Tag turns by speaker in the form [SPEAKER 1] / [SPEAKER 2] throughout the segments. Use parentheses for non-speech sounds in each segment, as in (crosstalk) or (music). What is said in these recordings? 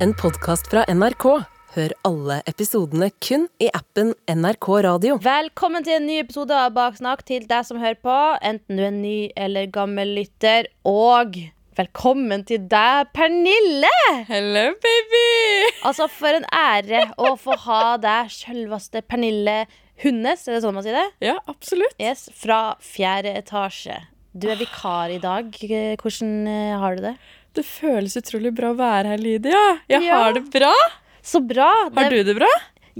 [SPEAKER 1] en podkast fra NRK. Hør alle episodene kun i appen NRK Radio.
[SPEAKER 2] Velkommen til en ny episode av Baksnakk til deg som hører på, enten du er ny eller gammel lytter. Og velkommen til deg, Pernille!
[SPEAKER 3] Hello, baby!
[SPEAKER 2] Altså, for en ære å få ha deg, sjølveste Pernille Hundes, er det sånn man sier det?
[SPEAKER 3] Ja, absolutt.
[SPEAKER 2] Yes, Fra fjerde etasje. Du er vikar i dag. Eh, Hvordan eh, har du det?
[SPEAKER 3] Det føles utrolig bra å være her, Lydia. Jeg
[SPEAKER 2] Ja.
[SPEAKER 3] har det bra.
[SPEAKER 2] Så bra!
[SPEAKER 3] Har du det bra?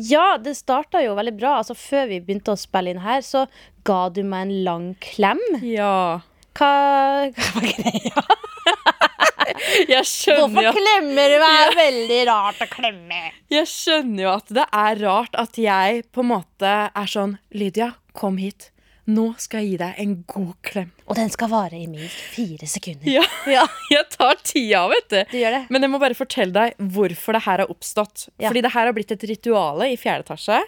[SPEAKER 2] Ja, det starta jo veldig bra. Altså, før vi begynte å spille inn her, så ga du meg en lang klem.
[SPEAKER 3] Ja.
[SPEAKER 2] Hva, (laughs) hva var greia?
[SPEAKER 3] Jeg
[SPEAKER 2] (laughs)
[SPEAKER 3] skjønner, jo,
[SPEAKER 2] klemmer du meg? Veldig rart å klemme.
[SPEAKER 3] jeg skjønner jo at det er rart at jeg på en måte er sånn Lydia, kom hit. Nå skal jeg gi deg en god klem.
[SPEAKER 2] Og den skal vare i minst fire sekunder. (laughs)
[SPEAKER 3] Ja, jeg tar tida, vet du.
[SPEAKER 2] Du gjør det?
[SPEAKER 3] Men jeg må bare fortelle deg hvorfor det her har oppstått.
[SPEAKER 2] Ja.
[SPEAKER 3] Fordi det her har blitt et rituale i fjerde etasje.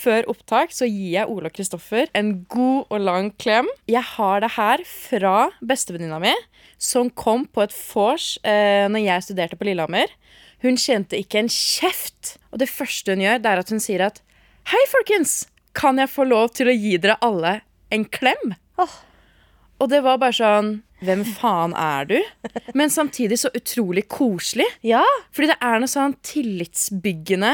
[SPEAKER 3] Før opptak så gir jeg Ole og Kristoffer en god og lang klem. Jeg har det her fra bestevenninna mi, som kom på et vors eh, når jeg studerte på Lillehammer. Hun kjente ikke en kjeft. Og det første hun gjør, det er at hun sier at Hei, folkens! Kan jeg få lov til å gi dere alle en klem?
[SPEAKER 2] Åh.
[SPEAKER 3] Og det var bare sånn Hvem faen er du? Men samtidig så utrolig koselig.
[SPEAKER 2] Ja.
[SPEAKER 3] Fordi det er noe sånn tillitsbyggende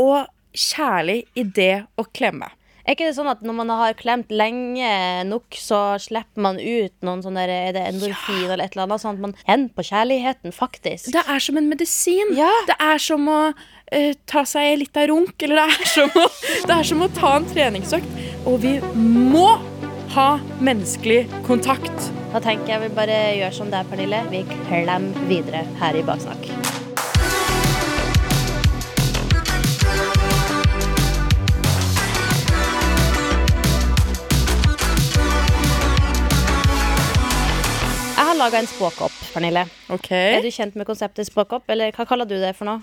[SPEAKER 3] og kjærlig i det å klemme.
[SPEAKER 2] Er ikke det sånn at når man har klemt lenge nok, så slipper man ut noen sånne der, Er det endorfin eller et eller annet? Sånn at man kjenner på kjærligheten, faktisk.
[SPEAKER 3] Det er som en medisin.
[SPEAKER 2] Ja.
[SPEAKER 3] Det er som å eh, ta seg litt av runk, eller det er, som å, det er som å ta en treningsøkt. Og vi må ha menneskelig kontakt.
[SPEAKER 2] Da tenker jeg vi bare gjør som det er, Pernille. Vi klemmer videre her i Baksnakk. Jeg har laga en spåkopp, Pernille.
[SPEAKER 3] Ok.
[SPEAKER 2] Er du kjent med konseptet spåkopp? Eller hva kaller du det for noe?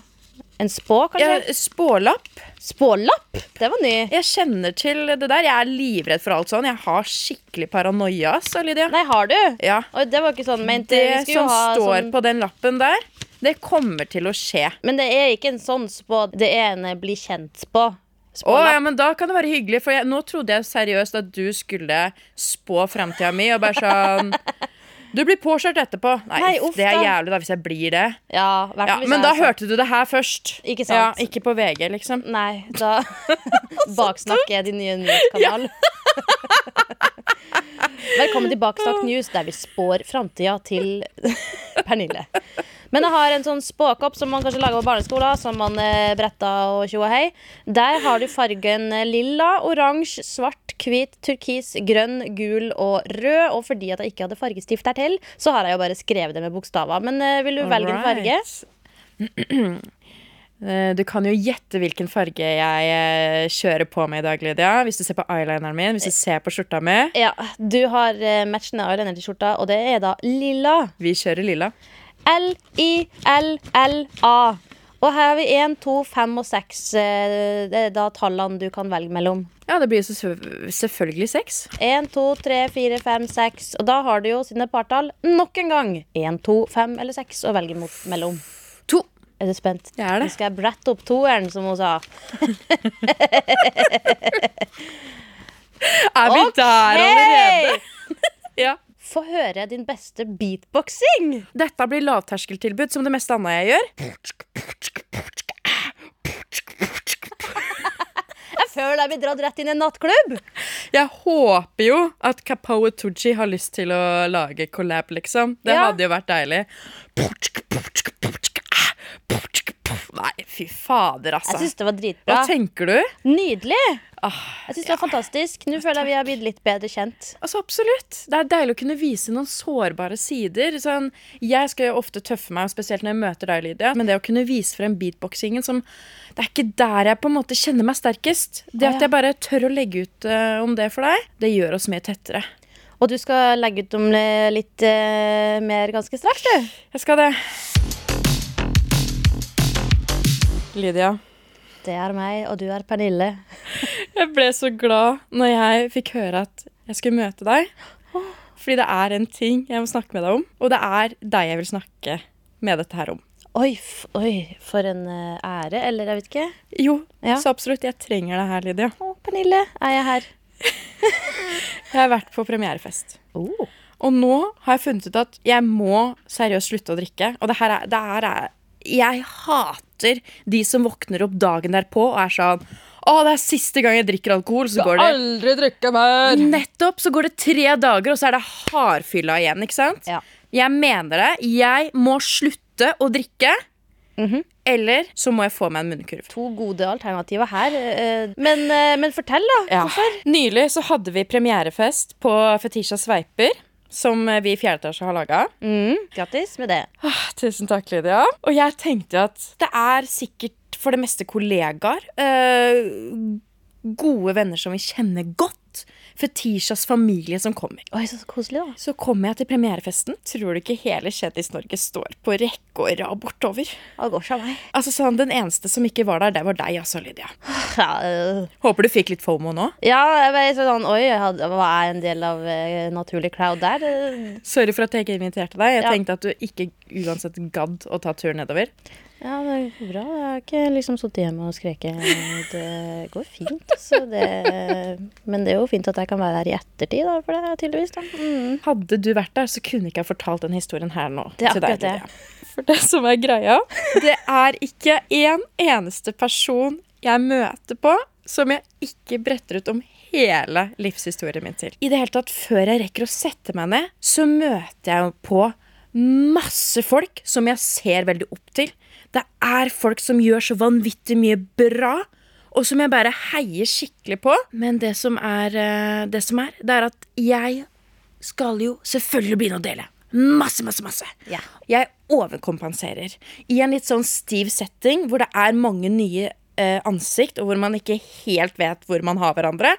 [SPEAKER 2] En spå,
[SPEAKER 3] Ja,
[SPEAKER 2] kanskje?
[SPEAKER 3] spålapp.
[SPEAKER 2] Spålapp? Det var ny.
[SPEAKER 3] Jeg kjenner til det der. Jeg er livredd for alt sånn. Jeg har skikkelig paranoia, sa Lydia.
[SPEAKER 2] Nei, har du?
[SPEAKER 3] Ja.
[SPEAKER 2] Oi, det var ikke sånn ment.
[SPEAKER 3] Det
[SPEAKER 2] Vi skulle jo
[SPEAKER 3] som
[SPEAKER 2] ha
[SPEAKER 3] står
[SPEAKER 2] sånn-
[SPEAKER 3] på den lappen der, det kommer til å skje.
[SPEAKER 2] Men det er ikke en sånn spå, det er en eh, bli kjent-spå.
[SPEAKER 3] Å,
[SPEAKER 2] Spålapp.
[SPEAKER 3] ja, men Da kan det være hyggelig, for jeg, nå trodde jeg seriøst at du skulle spå framtida mi. Og bare sånn (laughs) Du blir påkjørt etterpå. Nei,
[SPEAKER 2] Nei, uff
[SPEAKER 3] det er
[SPEAKER 2] da.
[SPEAKER 3] jævlig da hvis jeg blir det.
[SPEAKER 2] Ja, i hvert
[SPEAKER 3] Ja,
[SPEAKER 2] fall hvis jeg
[SPEAKER 3] men da
[SPEAKER 2] er sånn-
[SPEAKER 3] hørte du det her først.
[SPEAKER 2] Ikke sant.
[SPEAKER 3] Ja, ikke på VG, liksom.
[SPEAKER 2] Nei, da baksnakker jeg din nye nyhetskanal. (laughs) Velkommen til Baksnakk News, der vi spår framtida til (laughs) Pernille. Men jeg har en sånn spåkopp som man kanskje lager på barneskolen, som man eh, bretter og tjo og hei. Der har du fargen eh, lilla, oransje, svart, hvit, turkis, grønn, gul og rød. Og fordi at jeg ikke hadde fargestift der til, så har jeg jo bare skrevet det med bokstaver. Men eh, vil du velge en farge?
[SPEAKER 3] Eh, Du kan jo gjette hvilken farge jeg eh, kjører på med i dag, Lydia. Hvis du ser på eyelineren min, hvis du ser på skjorta mi.
[SPEAKER 2] Ja, du har eh, matchende eyeliner til skjorta, og det er da lilla.
[SPEAKER 3] Vi kjører lilla.
[SPEAKER 2] L-I-L-L-A. Og her har vi 1, 2, 5 og 6. eh, Det er da tallene du kan velge mellom.
[SPEAKER 3] Ja, det blir jo selvfø- selvfølgelig sex.
[SPEAKER 2] 1, 2, 3, 4, 5, 6. Og da har du jo sine partall nok en gang. 1, 2, 5 eller 6 å velge mot, mellom.
[SPEAKER 3] To.
[SPEAKER 2] Er du spent?
[SPEAKER 3] Jeg er det.
[SPEAKER 2] Nå skal jeg brette opp toeren, som hun sa.
[SPEAKER 3] Er vi der allerede?
[SPEAKER 2] Hei!
[SPEAKER 3] Ja.
[SPEAKER 2] Få høre din beste beatboxing!
[SPEAKER 3] Dette blir lavterskeltilbud, som det meste annet jeg gjør.
[SPEAKER 2] Jeg føler jeg blir dratt rett inn i en nattklubb.
[SPEAKER 3] Jeg håper jo at Kapoe Tooji har lyst til å lage collab, liksom. Det
[SPEAKER 2] Ja.
[SPEAKER 3] hadde jo vært deilig. ah, Nei, fy fader, altså.
[SPEAKER 2] Jeg syns det var dritbra.
[SPEAKER 3] Hva tenker du?
[SPEAKER 2] Nydelig!
[SPEAKER 3] Ah,
[SPEAKER 2] Jeg synes det var fantastisk. Nå føler jeg vi har blitt litt bedre kjent.
[SPEAKER 3] altså, absolutt. Det er deilig å kunne vise noen sårbare sider. Sånn, jeg skal jo ofte tøffe meg, og spesielt når jeg møter deg, Lydia. Men det å kunne vise frem beatboxingen som Det er ikke der jeg på en måte kjenner meg sterkest. Det
[SPEAKER 2] Å, ja.
[SPEAKER 3] at jeg bare tør å legge ut eh, om det for deg, det gjør oss mye tettere.
[SPEAKER 2] Og du skal legge ut om det litt eh, mer ganske straks, du.
[SPEAKER 3] Jeg skal det. Lydia.
[SPEAKER 2] Det er meg, og du er Pernille.
[SPEAKER 3] Jeg ble så glad når jeg fikk høre at jeg skulle møte deg. Fordi det er en ting jeg må snakke med deg om, og det er deg jeg vil snakke med dette her om.
[SPEAKER 2] Oi, f oi for en eh, ære. Eller jeg vet ikke.
[SPEAKER 3] Jo,
[SPEAKER 2] Ja.
[SPEAKER 3] så absolutt. Jeg trenger det her, Lydia.
[SPEAKER 2] Å, Pernille, er jeg her?
[SPEAKER 3] Jeg har vært på premierefest.
[SPEAKER 2] Oh.
[SPEAKER 3] Og nå har jeg funnet ut at jeg må seriøst slutte å drikke. Og det her er, det her er Jeg hater de som våkner opp dagen derpå og er sånn Å, det er siste gang jeg drikker alkohol, så går det
[SPEAKER 1] Aldri drikke mer!
[SPEAKER 3] Nettopp! Så går det tre dager, og så er det hardfylla igjen, ikke sant?
[SPEAKER 2] Ja.
[SPEAKER 3] Jeg mener det. Jeg må slutte å drikke.
[SPEAKER 2] Mhm.
[SPEAKER 3] Eller så må jeg få meg en munnkurv.
[SPEAKER 2] To gode alternativer her. eh, Men, eh, men fortell, da.
[SPEAKER 3] Ja. Nylig så hadde vi premierefest på Fetisha Sveiper, som vi i fjerde etasje har laga.
[SPEAKER 2] Mm, grattis med det.
[SPEAKER 3] Ah, Tusen takk, Lydia. Og jeg tenkte at det er sikkert for det meste kollegaer. eh, gode venner som vi kjenner godt. Fetishas familie som kommer.
[SPEAKER 2] Oi, så koselig, da.
[SPEAKER 3] Så kommer jeg til premierefesten. Tror du ikke hele Kjendis-Norge står på rekke og rad bortover?
[SPEAKER 2] Å, går seg meg.
[SPEAKER 3] Altså sånn, Den eneste som ikke var der, det var deg, altså, Lydia.
[SPEAKER 2] Ja, eh,
[SPEAKER 3] Håper du fikk litt fomo nå.
[SPEAKER 2] ja, jeg ble så sånn Oi, jeg hadde- hva er en del av eh, naturlig crowd der? Eh,
[SPEAKER 3] Sorry for at jeg ikke inviterte deg. Jeg
[SPEAKER 2] Ja.
[SPEAKER 3] tenkte at du ikke uansett gadd å ta turen nedover.
[SPEAKER 2] Ja, det går bra. Jeg har ikke liksom sittet hjemme og skreket. Det går fint, altså. Det Men det er jo fint at jeg kan være her i ettertid, da, for det er tydeligvis, da. Mm.
[SPEAKER 3] Hadde du vært der, så kunne ikke jeg fortalt den historien her nå.
[SPEAKER 2] Det er
[SPEAKER 3] til deg,
[SPEAKER 2] akkurat det.
[SPEAKER 3] Lydia. For det som er greia, det er ikke en eneste person jeg møter på som jeg ikke bretter ut om hele livshistorien min til. I det hele tatt, før jeg rekker å sette meg ned, så møter jeg jo på masse folk som jeg ser veldig opp til. Det er folk som gjør så vanvittig mye bra, og som jeg bare heier skikkelig på. Men det som er, eh, det, som er det er at jeg skal jo selvfølgelig begynne å dele. Masse, masse, masse.
[SPEAKER 2] Ja.
[SPEAKER 3] Jeg overkompenserer. I en litt sånn stiv setting hvor det er mange nye eh, ansikt, og hvor man ikke helt vet hvor man har hverandre.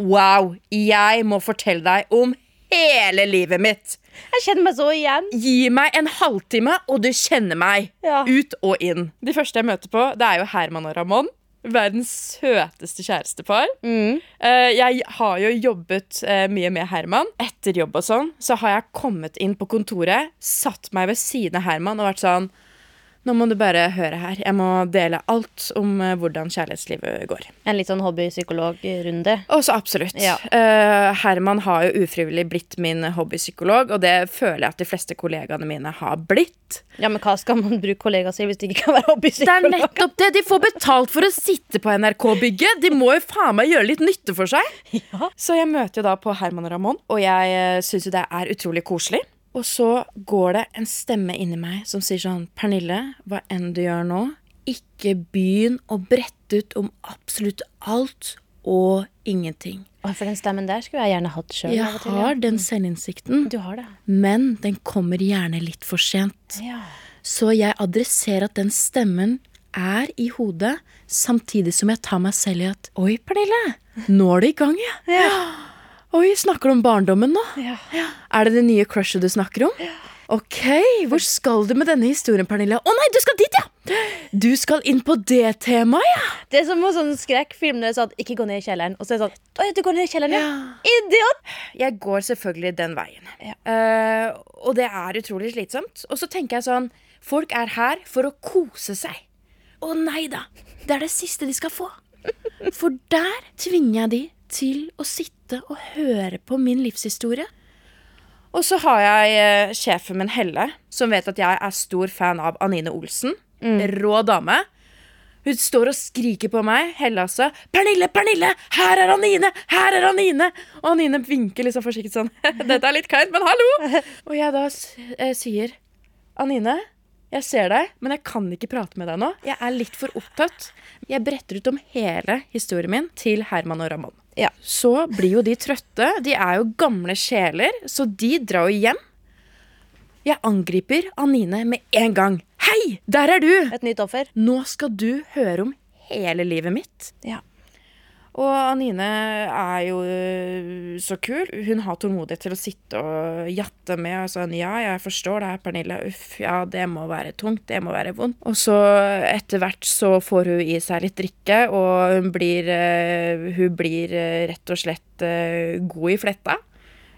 [SPEAKER 3] Wow! Jeg må fortelle deg om hele livet mitt.
[SPEAKER 2] Jeg kjenner meg så igjen.
[SPEAKER 3] Gi meg en halvtime, og du kjenner meg.
[SPEAKER 2] Ja.
[SPEAKER 3] Ut og inn. De første jeg møter på, det er jo Herman og Ramón. Verdens søteste kjærestepar.
[SPEAKER 2] Mm.
[SPEAKER 3] Eh, Jeg har jo jobbet eh, mye med Herman. Etter jobb og sånn, så har jeg kommet inn på kontoret, satt meg ved siden av Herman og vært sånn Nå må du bare høre her. Jeg må dele alt om eh, hvordan kjærlighetslivet går.
[SPEAKER 2] En litt sånn hobbypsykologrunde.
[SPEAKER 3] Og så absolutt.
[SPEAKER 2] Ja.
[SPEAKER 3] Eh, Herman har jo ufrivillig blitt min hobbypsykolog, og det føler jeg at de fleste kollegaene mine har blitt.
[SPEAKER 2] Ja, men hva skal man bruke kollegaer til hvis de ikke kan være
[SPEAKER 3] Det er
[SPEAKER 2] hobbypsykolog?
[SPEAKER 3] nettopp det! De får betalt for å sitte på NRK-bygget. De må jo faen meg gjøre litt nytte for seg. Så jeg møter jo da på Herman og Ramón, og jeg syns jo det er utrolig koselig. Og så går det en stemme inni meg som sier sånn Pernille, hva enn du gjør nå, ikke begynn å brette ut om absolutt alt og ingenting.
[SPEAKER 2] Å, For den stemmen der skulle jeg gjerne hatt sjøl.
[SPEAKER 3] Jeg har den selvinnsikten,
[SPEAKER 2] Du har det.
[SPEAKER 3] men den kommer gjerne litt for sent.
[SPEAKER 2] Ja.
[SPEAKER 3] Så jeg adresserer at den stemmen er i hodet, samtidig som jeg tar meg selv i at Oi, Pernille, nå er du i gang, ja. Oi, snakker du om barndommen nå?
[SPEAKER 2] Ja.
[SPEAKER 3] Er det det nye crushet du snakker om? Ok, hvor skal du med denne historien, Pernille? Å nei, du skal dit, ja! Du skal inn på det temaet, ja!
[SPEAKER 2] Det er som en sånn skrekkfilm der det er sånn 'ikke gå ned i kjelleren', og så er det sånn 'Å ja, du går ned i kjelleren, ja'. Idiot!
[SPEAKER 3] jeg går selvfølgelig den veien.
[SPEAKER 2] Ja.
[SPEAKER 3] Eh, og det er utrolig slitsomt. Og så tenker jeg sånn Folk er her for å kose seg. Å nei da! Det er det siste de skal få. For der tvinger jeg de til å sitte og høre på min livshistorie. Og så har jeg eh, sjefen min, Helle, som vet at jeg er stor fan av Anine Olsen. Rå dame. Hun står og skriker på meg, Helle altså. 'Pernille, Pernille! Her er Anine! Her er Anine!' Og Anine vinker liksom forsiktig sånn. (laughs) 'Dette er litt kleint, men hallo!' Og jeg da s- eh, sier 'Anine, jeg ser deg, men jeg kan ikke prate med deg nå. Jeg er litt for opptatt.' Jeg bretter ut om hele historien min til Herman og Ramón.
[SPEAKER 2] Ja.
[SPEAKER 3] Så blir jo de trøtte. De er jo gamle sjeler, så de drar jo hjem. Jeg angriper Anine med en gang. 'Hei, der er du!'
[SPEAKER 2] Et nytt offer.
[SPEAKER 3] Nå skal du høre om hele livet mitt.
[SPEAKER 2] Ja.
[SPEAKER 3] Og Anine er jo øh, så kul. Hun har tålmodighet til å sitte og jatte med. Og sånn, ja, jeg forstår det her, Pernille. Uff, ja, det må være tungt. Det må være vondt. Og så etter hvert så får hun i seg litt drikke, og hun blir, øh, hun blir øh, rett og slett øh, god i fletta.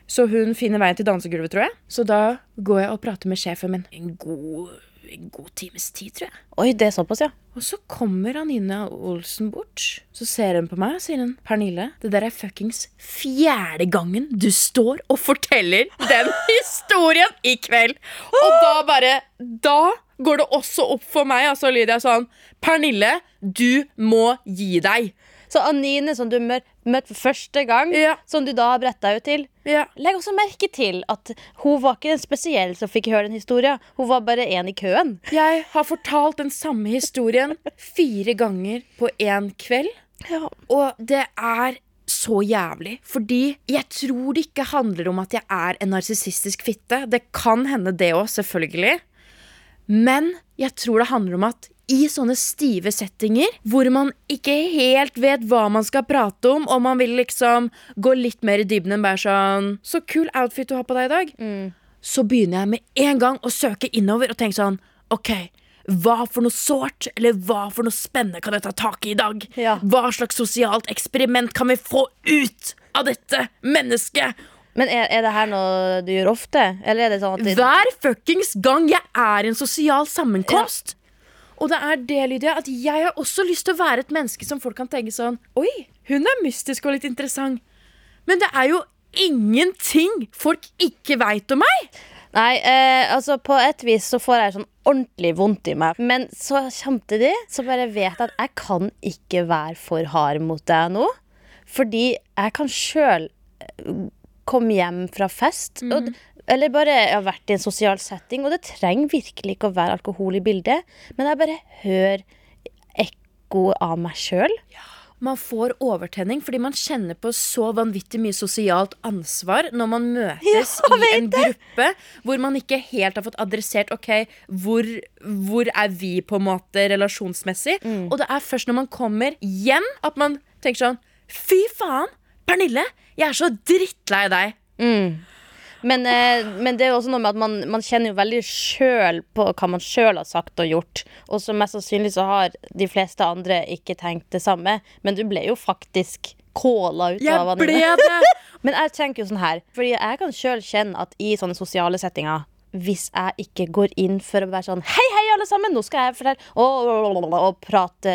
[SPEAKER 3] Så hun finner veien til dansegulvet, tror jeg. Så da går jeg og prater med sjefen min. En god en god times tid, tror jeg.
[SPEAKER 2] Oi, det er såpass, ja.
[SPEAKER 3] Og så kommer Anine Olsen bort. Så ser hun på meg og sier hun, Pernille, det der er fuckings fjerde gangen du står og forteller den (laughs) historien i kveld. Og da bare Da går det også opp for meg, altså, Lydia, sånn Pernille, du må gi deg.
[SPEAKER 2] Så Anine, som du mør- møtte for første gang,
[SPEAKER 3] Ja.
[SPEAKER 2] som du da har bretta ut til
[SPEAKER 3] Ja.
[SPEAKER 2] Legg også merke til at hun var ikke den spesielle som fikk høre den historien. Hun var bare en i køen.
[SPEAKER 3] Jeg har fortalt den samme historien fire ganger på én kveld. Og det er så jævlig. Fordi jeg tror det ikke handler om at jeg er en narsissistisk fitte. Det kan hende det òg, selvfølgelig. Men jeg tror det handler om at i sånne stive settinger, hvor man ikke helt vet hva man skal prate om, og man vil liksom gå litt mer i dybden enn bare sånn Så kul outfit du har på deg i dag. Så begynner jeg med en gang å søke innover og tenke sånn OK. Hva for noe sårt eller hva for noe spennende kan jeg ta tak i i dag?
[SPEAKER 2] Ja.
[SPEAKER 3] Hva slags sosialt eksperiment kan vi få ut av dette mennesket?
[SPEAKER 2] Men er, er det her noe du gjør ofte? Eller er det sånn at det,
[SPEAKER 3] Hver fuckings gang jeg er i en sosial sammenkomst. Og det er det, Lydia, at jeg har også lyst til å være et menneske som folk kan tenke sånn Oi, hun er mystisk og litt interessant. Men det er jo ingenting folk ikke veit om meg!
[SPEAKER 2] Nei, eh, altså på et vis så får jeg sånn ordentlig vondt i meg. Men så samtidig så bare vet jeg at jeg kan ikke være for hard mot deg nå. Fordi jeg kan sjøl komme hjem fra fest. og, eller bare jeg har vært i en sosial setting. Og det trenger virkelig ikke å være alkohol i bildet, men jeg bare hører ekko av meg sjøl.
[SPEAKER 3] Man får overtenning fordi man kjenner på så vanvittig mye sosialt ansvar når man møtes i en gruppe hvor man ikke helt har fått adressert Ok, hvor, hvor er vi på en måte relasjonsmessig. Og det er først når man kommer hjem at man tenker sånn Fy faen! Pernille, jeg er så drittlei deg.
[SPEAKER 2] Men, eh, men det er jo også noe med at man, man kjenner jo veldig sjøl på hva man sjøl har sagt og gjort. Og så mest sannsynlig så har de fleste andre ikke tenkt det samme. Men du ble jo faktisk kåla ut av
[SPEAKER 3] Jeg
[SPEAKER 2] Anine.
[SPEAKER 3] ble det!
[SPEAKER 2] Men jeg tenker jo sånn her, fordi jeg kan sjøl kjenne at i sånne sosiale settinger hvis jeg ikke går inn for å være sånn Hei, hei, alle sammen! Nå skal jeg fortelle Og, og, og, og prate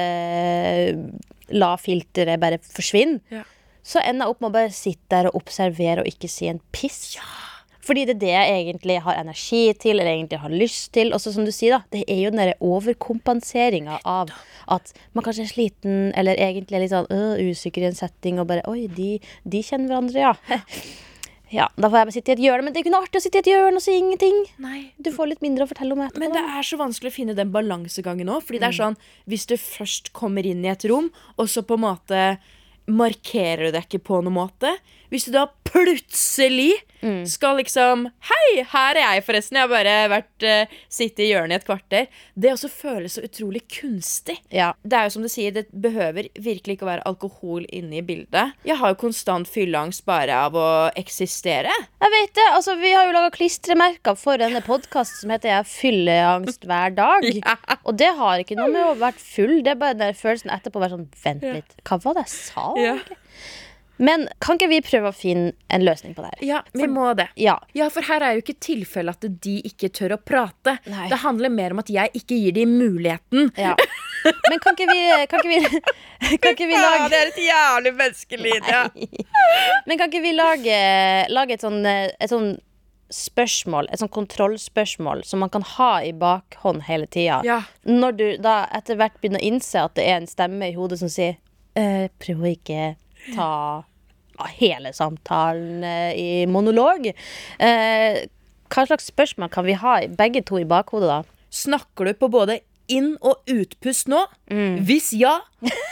[SPEAKER 2] La filteret bare forsvinne.
[SPEAKER 3] Ja.
[SPEAKER 2] Så ender jeg opp med å bare sitte der og observere og ikke si en piss. Fordi det er det jeg egentlig har energi til, eller egentlig har lyst til. Og så som du sier, da, det er jo den derre overkompenseringa av at man kanskje er sliten, eller egentlig er litt sånn øh, usikker i en setting, og bare Oi, de, de kjenner hverandre, ja. (laughs) Ja, Da får jeg bare sitte i et hjørne, men det er ikke noe artig å sitte i et hjørne og si ingenting.
[SPEAKER 3] Nei,
[SPEAKER 2] Du får litt mindre å fortelle om etterpå.
[SPEAKER 3] Men det er så vanskelig å finne den balansegangen òg. Fordi det er sånn, hvis du først kommer inn i et rom, og så på en måte markerer du deg ikke på noen måte Hvis du da plutselig skal liksom Hei, her er jeg, forresten. Jeg har bare vært eh, sittet i hjørnet i et kvarter. Det også føles så utrolig kunstig.
[SPEAKER 2] Ja.
[SPEAKER 3] Det er jo som du sier, det behøver virkelig ikke å være alkohol inne i bildet. Jeg har jo konstant fylleangst bare av å eksistere.
[SPEAKER 2] Jeg vet det, altså Vi har jo laga klistremerker for denne podkasten som heter 'Jeg fyller angst hver
[SPEAKER 3] (laughs)
[SPEAKER 2] dag'. Og det har ikke noe med å være full. Det er bare den der følelsen etterpå. Bare sånn, Vent litt, hva var det jeg sa? Men kan ikke vi prøve å finne en løsning på det her?
[SPEAKER 3] ja vi må det.
[SPEAKER 2] Ja.
[SPEAKER 3] Ja, for her er jo ikke tilfellet at de ikke tør å prate.
[SPEAKER 2] Nei.
[SPEAKER 3] Det handler mer om at jeg ikke gir dem muligheten.
[SPEAKER 2] ja. Men kan ikke vi, (laughs) kan ikke vi, kan ikke vi lage
[SPEAKER 3] det er et jævlig menneskelyd. Ja.
[SPEAKER 2] Men kan ikke vi lage, lage et sånn et sånn spørsmål, et sånn kontrollspørsmål som man kan ha i bakhånd hele tida?
[SPEAKER 3] Ja.
[SPEAKER 2] Når du da etter hvert begynner å innse at det er en stemme i hodet som sier eh, Prøv å ikke ta hele samtalen eh, i monolog. Eh, hva slags spørsmål kan vi ha i- begge to i bakhodet, da?
[SPEAKER 3] Snakker du på både inn- og utpust nå? Hvis ja,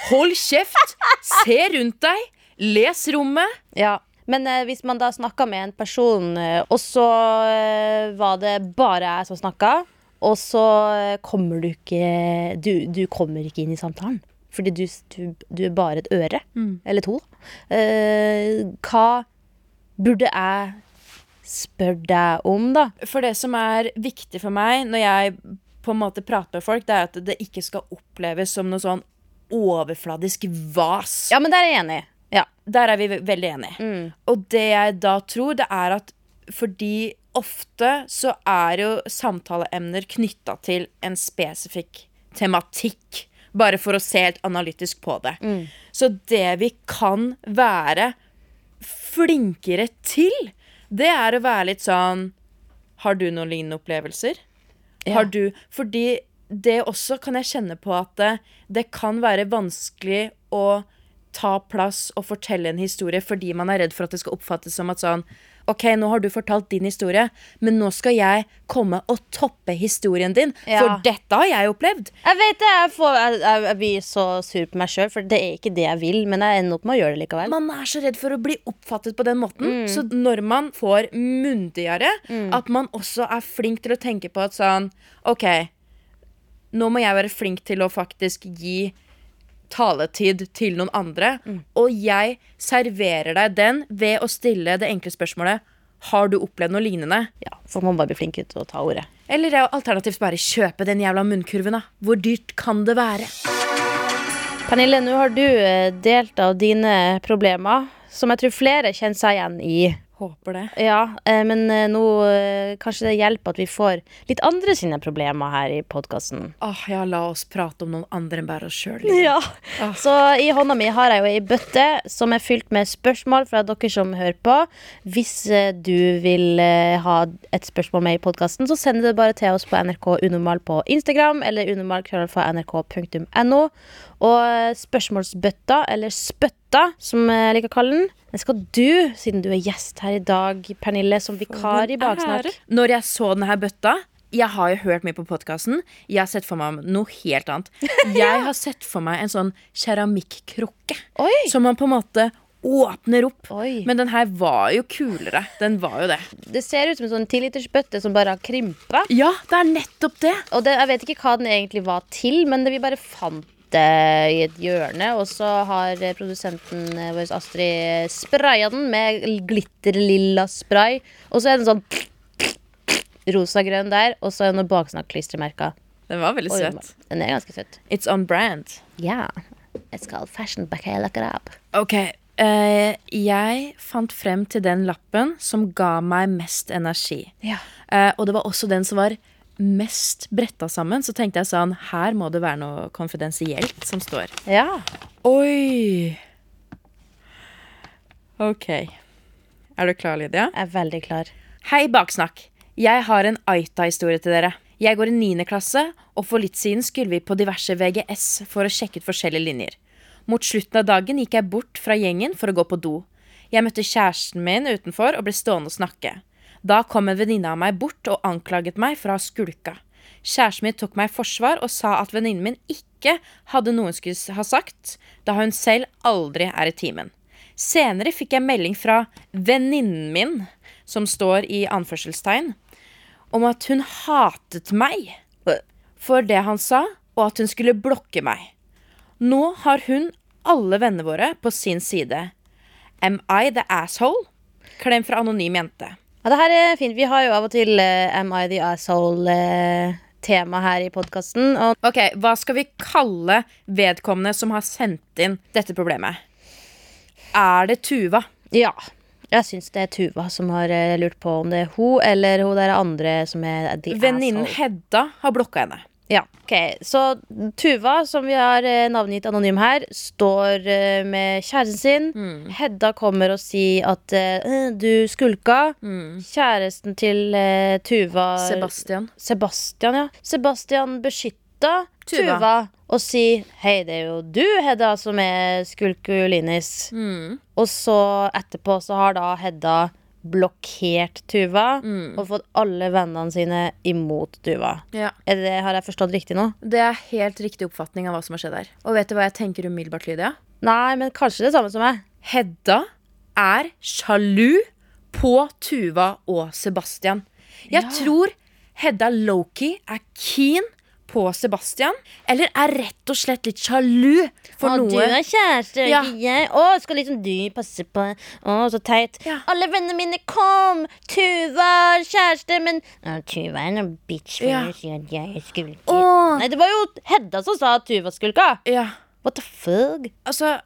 [SPEAKER 3] hold kjeft! Se rundt deg! Les rommet!
[SPEAKER 2] Ja, men eh, hvis man da snakka med en person, eh, og så eh, var det bare jeg som snakka, og så eh, kommer du ikke Du, du kommer ikke inn i samtalen. Fordi du, du, du er bare et øre. Eller to. Eh, hva burde jeg spørre deg om, da?
[SPEAKER 3] For det som er viktig for meg når jeg på en måte prater med folk, det er at det ikke skal oppleves som noe sånn overfladisk vas.
[SPEAKER 2] Ja, men der er jeg enig. Ja.
[SPEAKER 3] Der er vi ve- veldig enige. Og det jeg da tror, det er at fordi ofte så er jo samtaleemner knytta til en spesifikk tematikk. Bare for å se helt analytisk på det. Så det vi kan være flinkere til, det er å være litt sånn Har du noen lignende opplevelser? Har du Fordi det også kan jeg kjenne på at det, det kan være vanskelig å ta plass og fortelle en historie fordi man er redd for at det skal oppfattes som at sånn OK, nå har du fortalt din historie, men nå skal jeg komme og toppe historien din.
[SPEAKER 2] Ja.
[SPEAKER 3] For dette har jeg opplevd.
[SPEAKER 2] Jeg vet det, jeg, får, jeg, jeg, jeg blir så sur på meg sjøl, for det er ikke det jeg vil. Men jeg ender opp med å gjøre det likevel.
[SPEAKER 3] Man er så redd for å bli oppfattet på den måten. Så når man får myndigere, at man også er flink til å tenke på at sånn OK, nå må jeg være flink til å faktisk gi taletid til noen andre. Og jeg serverer deg den ved å stille det enkle spørsmålet Har du opplevd noe lignende?
[SPEAKER 2] Ja, for man må bare bli flink til å ta ordet.
[SPEAKER 3] Eller ja, alternativt bare kjøpe den jævla munnkurven, da. Hvor dyrt kan det være?
[SPEAKER 2] Pernille, nå har du eh, delt av dine problemer, som jeg tror flere kjenner seg igjen i.
[SPEAKER 3] Håper det.
[SPEAKER 2] Ja, eh, men eh, nå eh, kanskje det hjelper at vi får litt andre sine problemer her i podkasten.
[SPEAKER 3] Åh, ja, la oss prate om noen andre enn bare oss sjøl.
[SPEAKER 2] Ja. Så i hånda mi har jeg jo ei bøtte som er fylt med spørsmål fra dere som hører på. Hvis eh, du vil eh, ha et spørsmål med i podkasten, så send det bare til oss på NRK Unormal på Instagram eller unormal.nrk.no. Og eh, spørsmålsbøtta, eller spøtta, som jeg liker å kalle den, den skal du, siden du er gjest her i dag, Pernille, som vikar i Baksnakk.
[SPEAKER 3] Når jeg så denne bøtta Jeg har jo hørt mye på podkasten. Jeg har sett for meg noe helt annet. (laughs) Jeg har sett for meg en sånn keramikkrukke
[SPEAKER 2] Oi.
[SPEAKER 3] som man på en måte åpner opp.
[SPEAKER 2] Oi.
[SPEAKER 3] Men den her var jo kulere. Den var jo det.
[SPEAKER 2] Det ser ut som en sånn tilitersbøtte som bare har krympa.
[SPEAKER 3] Ja, det er nettopp det.
[SPEAKER 2] Og det, jeg vet ikke hva den egentlig var til, men det, vi bare fant det i et hjørne. Og så har eh, produsenten eh, vår Astrid spraya den med glitterlilla spray. Og så er den sånn rosa-grønn der, og så er det noen baksnakk-klistremerker.
[SPEAKER 3] Den var veldig
[SPEAKER 2] Og den-
[SPEAKER 3] søt.
[SPEAKER 2] Den er ganske søt.
[SPEAKER 3] It's on brand.
[SPEAKER 2] Ja. It's called fashion but I look it up.
[SPEAKER 3] Ok, eh, jeg fant frem til den lappen som ga meg mest energi.
[SPEAKER 2] Ja.
[SPEAKER 3] Eh, og det var også den som var mest bretta sammen. Så tenkte jeg sånn, her må det være noe konfidensielt som står.
[SPEAKER 2] Ja.
[SPEAKER 3] Oi! Ok. Er du klar, Lydia?
[SPEAKER 2] Jeg er veldig klar.
[SPEAKER 3] Hei, Baksnakk. Jeg har en Aita-historie til dere. Jeg går i 9. klasse, og for litt siden skulle vi på diverse VGS for å sjekke ut forskjellige linjer. Mot slutten av dagen gikk jeg bort fra gjengen for å gå på do. Jeg møtte kjæresten min utenfor og ble stående og snakke. Da kom en venninne av meg bort og anklaget meg for å ha skulka. Kjæresten min tok meg i forsvar og sa at venninnen min ikke hadde noe hun skulle ha sagt, da hun selv aldri er i timen. Senere fikk jeg melding fra venninnen min, som står i anførselstegn, om at hun hatet meg for det han sa, og at hun skulle blokke meg. Nå har hun alle vennene våre på sin side. Am I the asshole? Klem fra anonym jente.
[SPEAKER 2] Ja, det her er fint. Vi har jo av og til eh, Am I the Asshole-tema her i podkasten. Og
[SPEAKER 3] Ok, Hva skal vi kalle vedkommende som har sendt inn dette problemet? Er det Tuva?
[SPEAKER 2] Ja. Jeg syns det er Tuva som har eh, lurt på om det er hun eller hun der andre som er the
[SPEAKER 3] Venninnen
[SPEAKER 2] asshole.
[SPEAKER 3] Hedda har blokka henne.
[SPEAKER 2] Ja, ok. Så Tuva, som vi har eh, navngitt anonym her, står eh, med kjæresten sin. Hedda kommer og sier at eh, du skulka. Kjæresten til eh, Tuva
[SPEAKER 3] Sebastian.
[SPEAKER 2] Sebastian, ja. Sebastian beskytta Tuva.
[SPEAKER 3] Tuva.
[SPEAKER 2] og sier 'hei, det er jo du, Hedda, som er skulkulinis'. Og så etterpå så har da Hedda blokkert Tuva og fått alle vennene sine imot Tuva.
[SPEAKER 3] Ja.
[SPEAKER 2] Er det, har jeg forstått riktig nå?
[SPEAKER 3] Det er helt riktig oppfatning av hva som har skjedd her. Og vet du hva jeg tenker umiddelbart, Lydia?
[SPEAKER 2] Nei, men kanskje det samme som meg.
[SPEAKER 3] Hedda er sjalu på Tuva og Sebastian. Jeg tror Hedda Loki er keen på Sebastian, eller er rett og slett litt sjalu for
[SPEAKER 2] å, du
[SPEAKER 3] noe.
[SPEAKER 2] er kjæreste,
[SPEAKER 3] Ja.
[SPEAKER 2] ikke jeg. Å, skal liksom du passe på Å, så teit.
[SPEAKER 3] Ja.
[SPEAKER 2] Alle vennene mine, kom! Tuva er kjæreste, men Å, Tuva er en bitch for
[SPEAKER 3] Ja.
[SPEAKER 2] å si at jeg skulker.
[SPEAKER 3] Å.
[SPEAKER 2] Nei, det var jo Hedda som sa at Tuva skulka.
[SPEAKER 3] Ja,
[SPEAKER 2] What the fuck?
[SPEAKER 3] altså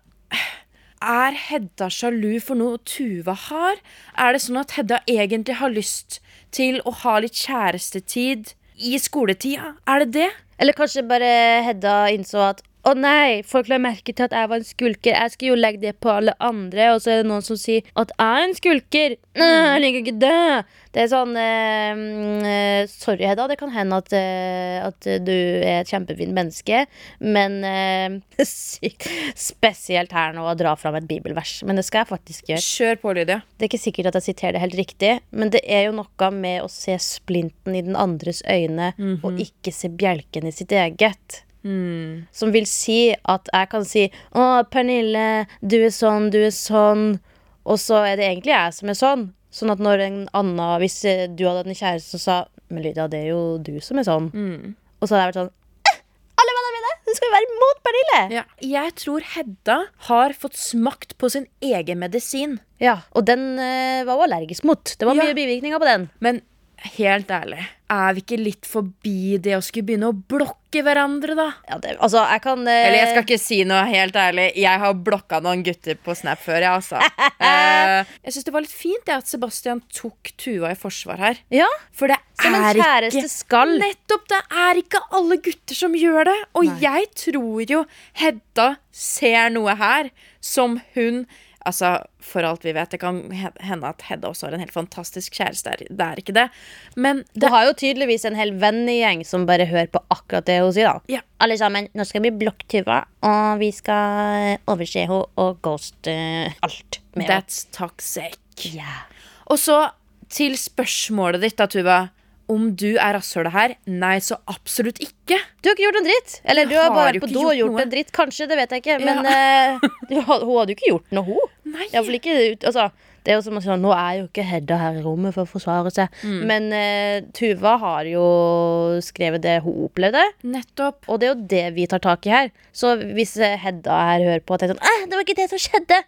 [SPEAKER 3] Er Hedda sjalu for noe Tuva har? Er det sånn at Hedda egentlig har lyst til å ha litt kjærestetid i skoletida? Er det det?
[SPEAKER 2] Eller kanskje bare Hedda innså at å nei, folk la merke til at jeg var en skulker. Jeg skulle jo legge det på alle andre, og så er det noen som sier at jeg er en skulker. Nei, jeg liker ikke det. Det er sånn eh, mm, eh, Sorry, Hedda. Det kan hende at, eh, at du er et kjempefint menneske, men eh, (laughs) sykt spesielt her nå å dra fram et bibelvers. Men det skal jeg faktisk gjøre.
[SPEAKER 3] Kjør på, Lydia.
[SPEAKER 2] Det er ikke sikkert at jeg siterer det helt riktig, men det er jo noe med å se splinten i den andres øyne
[SPEAKER 3] Mhm.
[SPEAKER 2] og ikke se bjelken i sitt eget.
[SPEAKER 3] Mm.
[SPEAKER 2] Som vil si at jeg kan si 'Å, Pernille, du er sånn, du er sånn', og så er det egentlig jeg som er sånn. Sånn at når en annen Hvis eh, du hadde hatt en kjæreste som sa 'Men Lydia, det er jo du som er sånn',
[SPEAKER 3] Mm.
[SPEAKER 2] og så hadde jeg vært sånn «Eh, alle vennene mine, du skal jo være mot Pernille!
[SPEAKER 3] Ja. Jeg tror Hedda har fått smakt på sin egen medisin.
[SPEAKER 2] Ja, Og den eh, var hun allergisk mot. Det var
[SPEAKER 3] Ja.
[SPEAKER 2] mye bivirkninger på den.
[SPEAKER 3] Men helt ærlig, er vi ikke litt forbi det å skulle begynne å blokke hverandre, da?
[SPEAKER 2] Ja, det, altså, jeg kan eh,
[SPEAKER 3] Eller jeg skal ikke si noe helt ærlig. Jeg har blokka noen gutter på Snap før, jeg, (laughs) altså. Eh, jeg syns det var litt fint det at Sebastian tok Tuva i forsvar her.
[SPEAKER 2] Ja,
[SPEAKER 3] For det
[SPEAKER 2] Som en
[SPEAKER 3] er
[SPEAKER 2] kjæreste
[SPEAKER 3] ikke
[SPEAKER 2] skal.
[SPEAKER 3] Nettopp! Det er ikke alle gutter som gjør det. Og
[SPEAKER 2] Nei.
[SPEAKER 3] jeg tror jo Hedda ser noe her som hun Altså, For alt vi vet, det kan he- hende at Hedda også har en helt fantastisk kjæreste. Det er- Det er ikke det. Men
[SPEAKER 2] Du
[SPEAKER 3] det
[SPEAKER 2] har jo tydeligvis en hel vennegjeng som bare hører på akkurat det hun sier. da
[SPEAKER 3] Ja.
[SPEAKER 2] Alle sammen, nå skal vi blokke Tuva, og vi skal overse henne og ghoste alt med henne.
[SPEAKER 3] That's toxic.
[SPEAKER 2] Yeah.
[SPEAKER 3] Og så til spørsmålet ditt, da, Tuva. Om du er rasshølet her? Nei, så absolutt ikke.
[SPEAKER 2] Du har ikke gjort en dritt! Eller du har
[SPEAKER 3] har
[SPEAKER 2] bare
[SPEAKER 3] jo
[SPEAKER 2] på
[SPEAKER 3] ikke
[SPEAKER 2] do og
[SPEAKER 3] gjort
[SPEAKER 2] gjort
[SPEAKER 3] noe.
[SPEAKER 2] en dritt, kanskje. Det vet jeg ikke. Men
[SPEAKER 3] Ja.
[SPEAKER 2] eh, (laughs) du har- hun hadde jo ikke gjort noe, hun.
[SPEAKER 3] Nei.
[SPEAKER 2] I hvert fall ikke ut Altså det er jo som å si sånn, Nå er jo ikke Hedda her i rommet for å forsvare seg.
[SPEAKER 3] Mm.
[SPEAKER 2] Men eh, Tuva har jo skrevet det hun opplevde.
[SPEAKER 3] Nettopp.
[SPEAKER 2] Og det er jo det vi tar tak i her. Så hvis eh, Hedda her hører på og tenker sånn «Æ, det var ikke det som skjedde,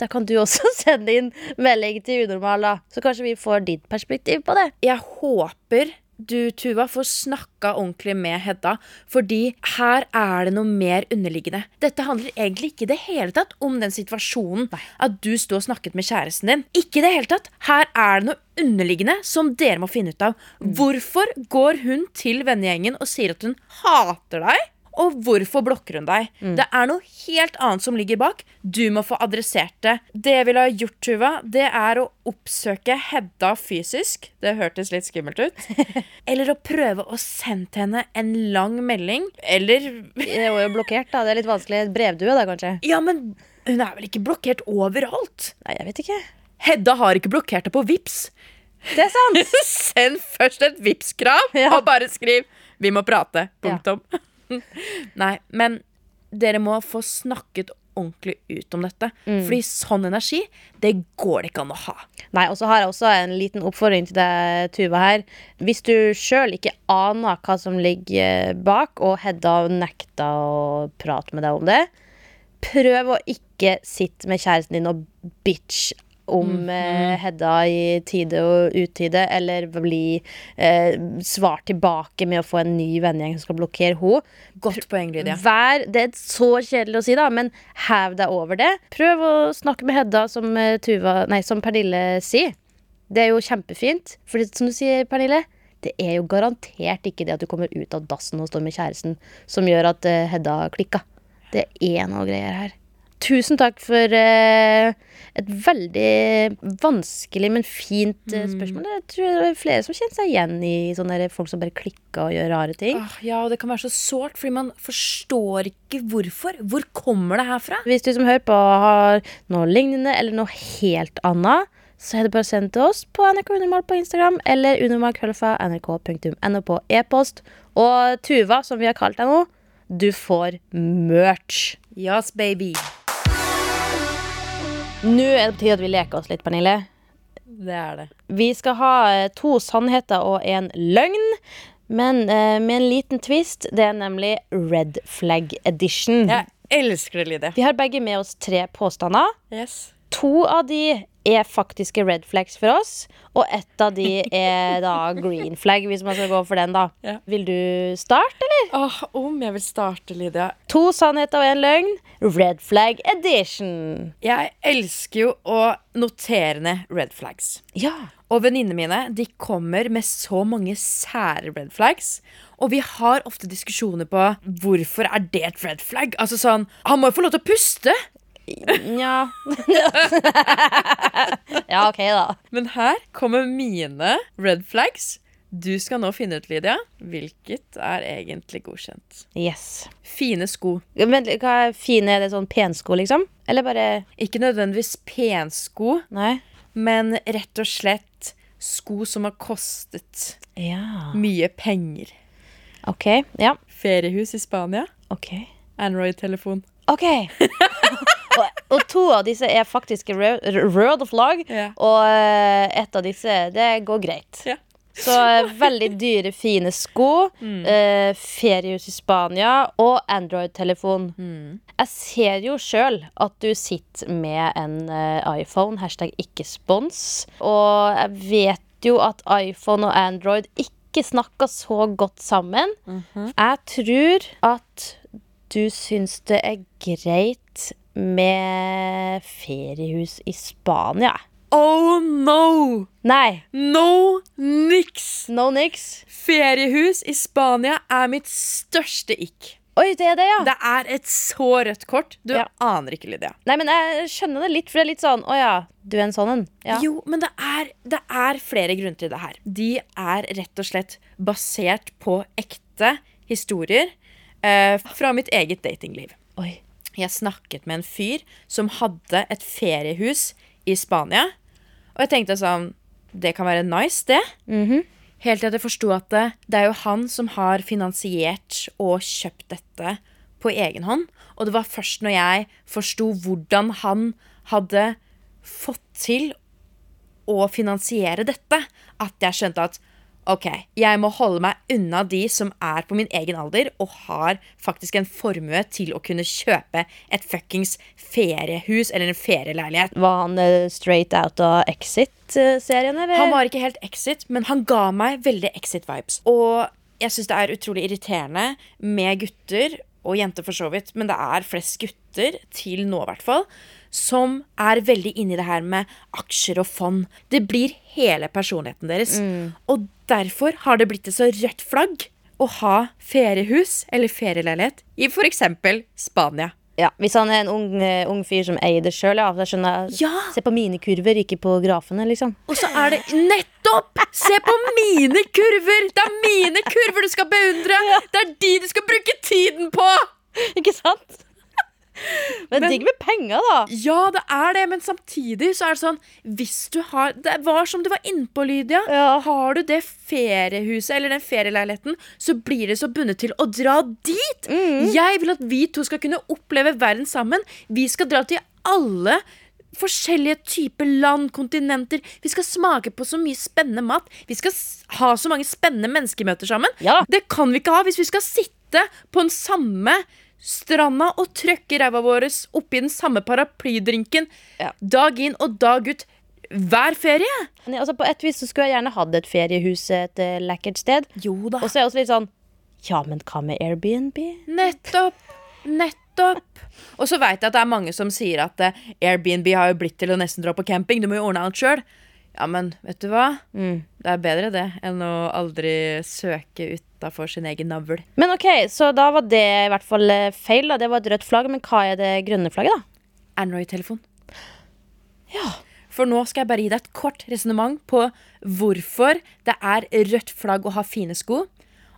[SPEAKER 2] da kan du også (laughs) sende inn melding til Unormal, da. Så kanskje vi får ditt perspektiv på det.
[SPEAKER 3] jeg håper du, Tuva, får snakka ordentlig med Hedda, fordi her er det noe mer underliggende. Dette handler egentlig ikke i det hele tatt om den situasjonen at du sto og snakket med kjæresten din. Ikke i det hele tatt. Her er det noe underliggende som dere må finne ut av. Hvorfor går hun til vennegjengen og sier at hun hater deg? Og hvorfor blokker hun deg? Det er noe helt annet som ligger bak. Du må få adressert det. Det jeg ville ha gjort, Tuva, det er å oppsøke Hedda fysisk. Det hørtes litt skummelt ut. Eller å prøve å sende henne en lang melding. Eller (laughs)
[SPEAKER 2] Det var jo blokkert, da. Det er litt vanskelig. Brevdue, da, kanskje?
[SPEAKER 3] Ja, men hun er vel ikke blokkert overalt?
[SPEAKER 2] Nei, jeg vet ikke.
[SPEAKER 3] Hedda har ikke blokkert det på Vips.
[SPEAKER 2] Det er sant!
[SPEAKER 3] (laughs) Send først et Vipps-krav
[SPEAKER 2] Ja.
[SPEAKER 3] og bare skriv 'Vi må prate'.
[SPEAKER 2] Ja.
[SPEAKER 3] Punktum. (laughs) Nei, men dere må få snakket ordentlig ut om dette. Fordi sånn energi, det går det ikke an å ha.
[SPEAKER 2] Nei, og så har jeg også en liten oppfordring til deg, Tuva, her. Hvis du sjøl ikke aner hva som ligger eh, bak, og Hedda nekta å prate med deg om det, prøv å ikke sitte med kjæresten din og bitch om eh, Hedda i tide og utide, eller bli eh, svart tilbake med å få en ny vennegjeng som skal blokkere henne.
[SPEAKER 3] Godt poeng, Lydia.
[SPEAKER 2] Vær, det er så kjedelig å si, da, men hev deg over det. Prøv å snakke med Hedda, som, eh, Tuva, nei, som Pernille sier. Det er jo kjempefint. For det- som du sier, Pernille, det er jo garantert ikke det at du kommer ut av dassen og står med kjæresten som gjør at eh, Hedda klikka. Det er noe greier her. Tusen takk for eh, et veldig vanskelig, men fint eh, spørsmål. Jeg tror det er flere som kjenner seg igjen i sånne der folk som bare klikker og gjør rare ting.
[SPEAKER 3] Åh, ja, og det kan være så sårt, fordi man forstår ikke hvorfor. Hvor kommer det herfra?
[SPEAKER 2] Hvis du som hører på har noe lignende eller noe helt annet, så er det bare å sende til oss på NRK Unormal på Instagram eller unormal.nrk.no på e-post. Og Tuva, som vi har kalt deg nå, du får merch.
[SPEAKER 3] Yes, baby.
[SPEAKER 2] Nå er det på tide at vi leker oss litt, Pernille.
[SPEAKER 3] Det er det.
[SPEAKER 2] Vi skal ha eh, to sannheter og en løgn, men eh, med en liten twist. Det er nemlig red flag edition.
[SPEAKER 3] Jeg elsker det, Lydia.
[SPEAKER 2] Vi har begge med oss tre påstander.
[SPEAKER 3] Yes.
[SPEAKER 2] To av de er faktiske red flags for oss, og ett av de er da green flag, hvis man skal gå for den, da.
[SPEAKER 3] Ja.
[SPEAKER 2] Vil du starte, eller?
[SPEAKER 3] Åh, om jeg vil starte, Lydia.
[SPEAKER 2] To sannheter og én løgn. Red flag edition.
[SPEAKER 3] Jeg elsker jo å notere ned red flags.
[SPEAKER 2] Ja.
[SPEAKER 3] Og venninnene mine de kommer med så mange sære red flags. Og vi har ofte diskusjoner på hvorfor er det et red flag. Altså sånn, Han må jo få lov til å puste!
[SPEAKER 2] Nja (laughs) Ja, OK, da.
[SPEAKER 3] Men her kommer mine red flags. Du skal nå finne ut, Lydia, hvilket er egentlig godkjent.
[SPEAKER 2] Yes.
[SPEAKER 3] Fine sko.
[SPEAKER 2] Men hva er fine? Er det sånn pensko, liksom? Eller bare
[SPEAKER 3] Ikke nødvendigvis pensko,
[SPEAKER 2] Nei?
[SPEAKER 3] men rett og slett sko som har kostet
[SPEAKER 2] Ja.
[SPEAKER 3] mye penger.
[SPEAKER 2] OK. Ja.
[SPEAKER 3] Feriehus i Spania.
[SPEAKER 2] OK.
[SPEAKER 3] Android-telefon. (laughs)
[SPEAKER 2] Ok og, og to av disse er faktisk World of Lag
[SPEAKER 3] Ja.
[SPEAKER 2] Og eh, et av disse Det går greit
[SPEAKER 3] Ja.
[SPEAKER 2] Så eh, veldig dyre, fine sko
[SPEAKER 3] Mm.
[SPEAKER 2] eh, Feriehus i Spania Og Android-telefon
[SPEAKER 3] Mm.
[SPEAKER 2] Jeg ser jo selv at du sitter Med en eh, iPhone Hashtag ikke spons Og jeg vet jo at iPhone og Android Ikke snakker så godt sammen jeg tror at du syns det er greit med feriehus i Spania.
[SPEAKER 3] Oh no!
[SPEAKER 2] Nei,
[SPEAKER 3] No niks!
[SPEAKER 2] no niks.
[SPEAKER 3] Feriehus i Spania er mitt største ikk.
[SPEAKER 2] Oi, det er det, ja.
[SPEAKER 3] Det er et så rødt kort. Du
[SPEAKER 2] Ja.
[SPEAKER 3] aner ikke, Lydia.
[SPEAKER 2] Nei, men jeg skjønner det litt, for det er litt sånn Å ja, du er en sånn en. Ja.
[SPEAKER 3] Jo, men det er, det er flere grunner til det her. De er rett og slett basert på ekte historier eh, fra mitt eget datingliv.
[SPEAKER 2] Oi.
[SPEAKER 3] Jeg snakket med en fyr som hadde et feriehus i Spania. Og jeg tenkte sånn Det kan være nice, det. Helt til at jeg forsto at det, det er jo han som har finansiert og kjøpt dette på egen hånd. Og det var først når jeg forsto hvordan han hadde fått til å finansiere dette, at jeg skjønte at OK, jeg må holde meg unna de som er på min egen alder og har faktisk en formue til å kunne kjøpe et fuckings feriehus eller en ferieleilighet.
[SPEAKER 2] Var han eh, straight out av Exit-serien, eller?
[SPEAKER 3] Han var ikke helt exit, men han ga meg veldig exit-vibes. Og jeg syns det er utrolig irriterende med gutter, og jenter for så vidt, men det er flest gutter, til nå i hvert fall, som er veldig inni det her med aksjer og fond. Det blir hele personligheten deres. Og derfor har det blitt et så rødt flagg å ha feriehus eller ferieleilighet i f.eks. Spania.
[SPEAKER 2] ja, hvis han er en ung, eh, ung fyr som eier det sjøl, ja. Så jeg skjønner
[SPEAKER 3] Ja.
[SPEAKER 2] Se på mine kurver, ikke på grafene,
[SPEAKER 3] (laughs)
[SPEAKER 2] liksom.
[SPEAKER 3] Og så er det nettopp! Se på mine kurver! Det er mine kurver du skal beundre! Det er de du skal bruke tiden på!
[SPEAKER 2] ikke sant? Men, digg med penger, da.
[SPEAKER 3] Ja, det er det, men samtidig så er det sånn Hvis du har Det var som du var innpå, Lydia.
[SPEAKER 2] Ja.
[SPEAKER 3] Har du det feriehuset eller den ferieleiligheten, så blir det så bundet til å dra dit! Jeg vil at vi to skal kunne oppleve verden sammen. Vi skal dra til alle forskjellige typer land, kontinenter. Vi skal smake på så mye spennende mat. Vi skal s- ha så mange spennende menneskemøter sammen.
[SPEAKER 2] Ja.
[SPEAKER 3] Det kan vi ikke ha hvis vi skal sitte på den samme stranda og trøkke ræva vår oppi den samme paraplydrinken
[SPEAKER 2] Ja.
[SPEAKER 3] dag inn og dag ut hver ferie.
[SPEAKER 2] Men altså, på et vis så skulle jeg gjerne hatt et feriehus et eh, lekkert sted.
[SPEAKER 3] Jo da.
[SPEAKER 2] Og så er jeg også litt sånn Ja, men hva med Airbnb?
[SPEAKER 3] Nettopp. Nettopp. Og så veit jeg at det er mange som sier at eh, Airbnb har jo blitt til å nesten dra på camping. Du må jo ordne alt sjøl. Ja, men vet du hva? Det er bedre det enn å aldri søke utafor sin egen navl.
[SPEAKER 2] Men OK, så da var det i hvert fall eh, feil. da Det var et rødt flagg. Men hva er det grønne flagget, da?
[SPEAKER 3] Android-telefon. Ja. For nå skal jeg bare gi deg et kort resonnement på hvorfor det er rødt flagg å ha fine sko.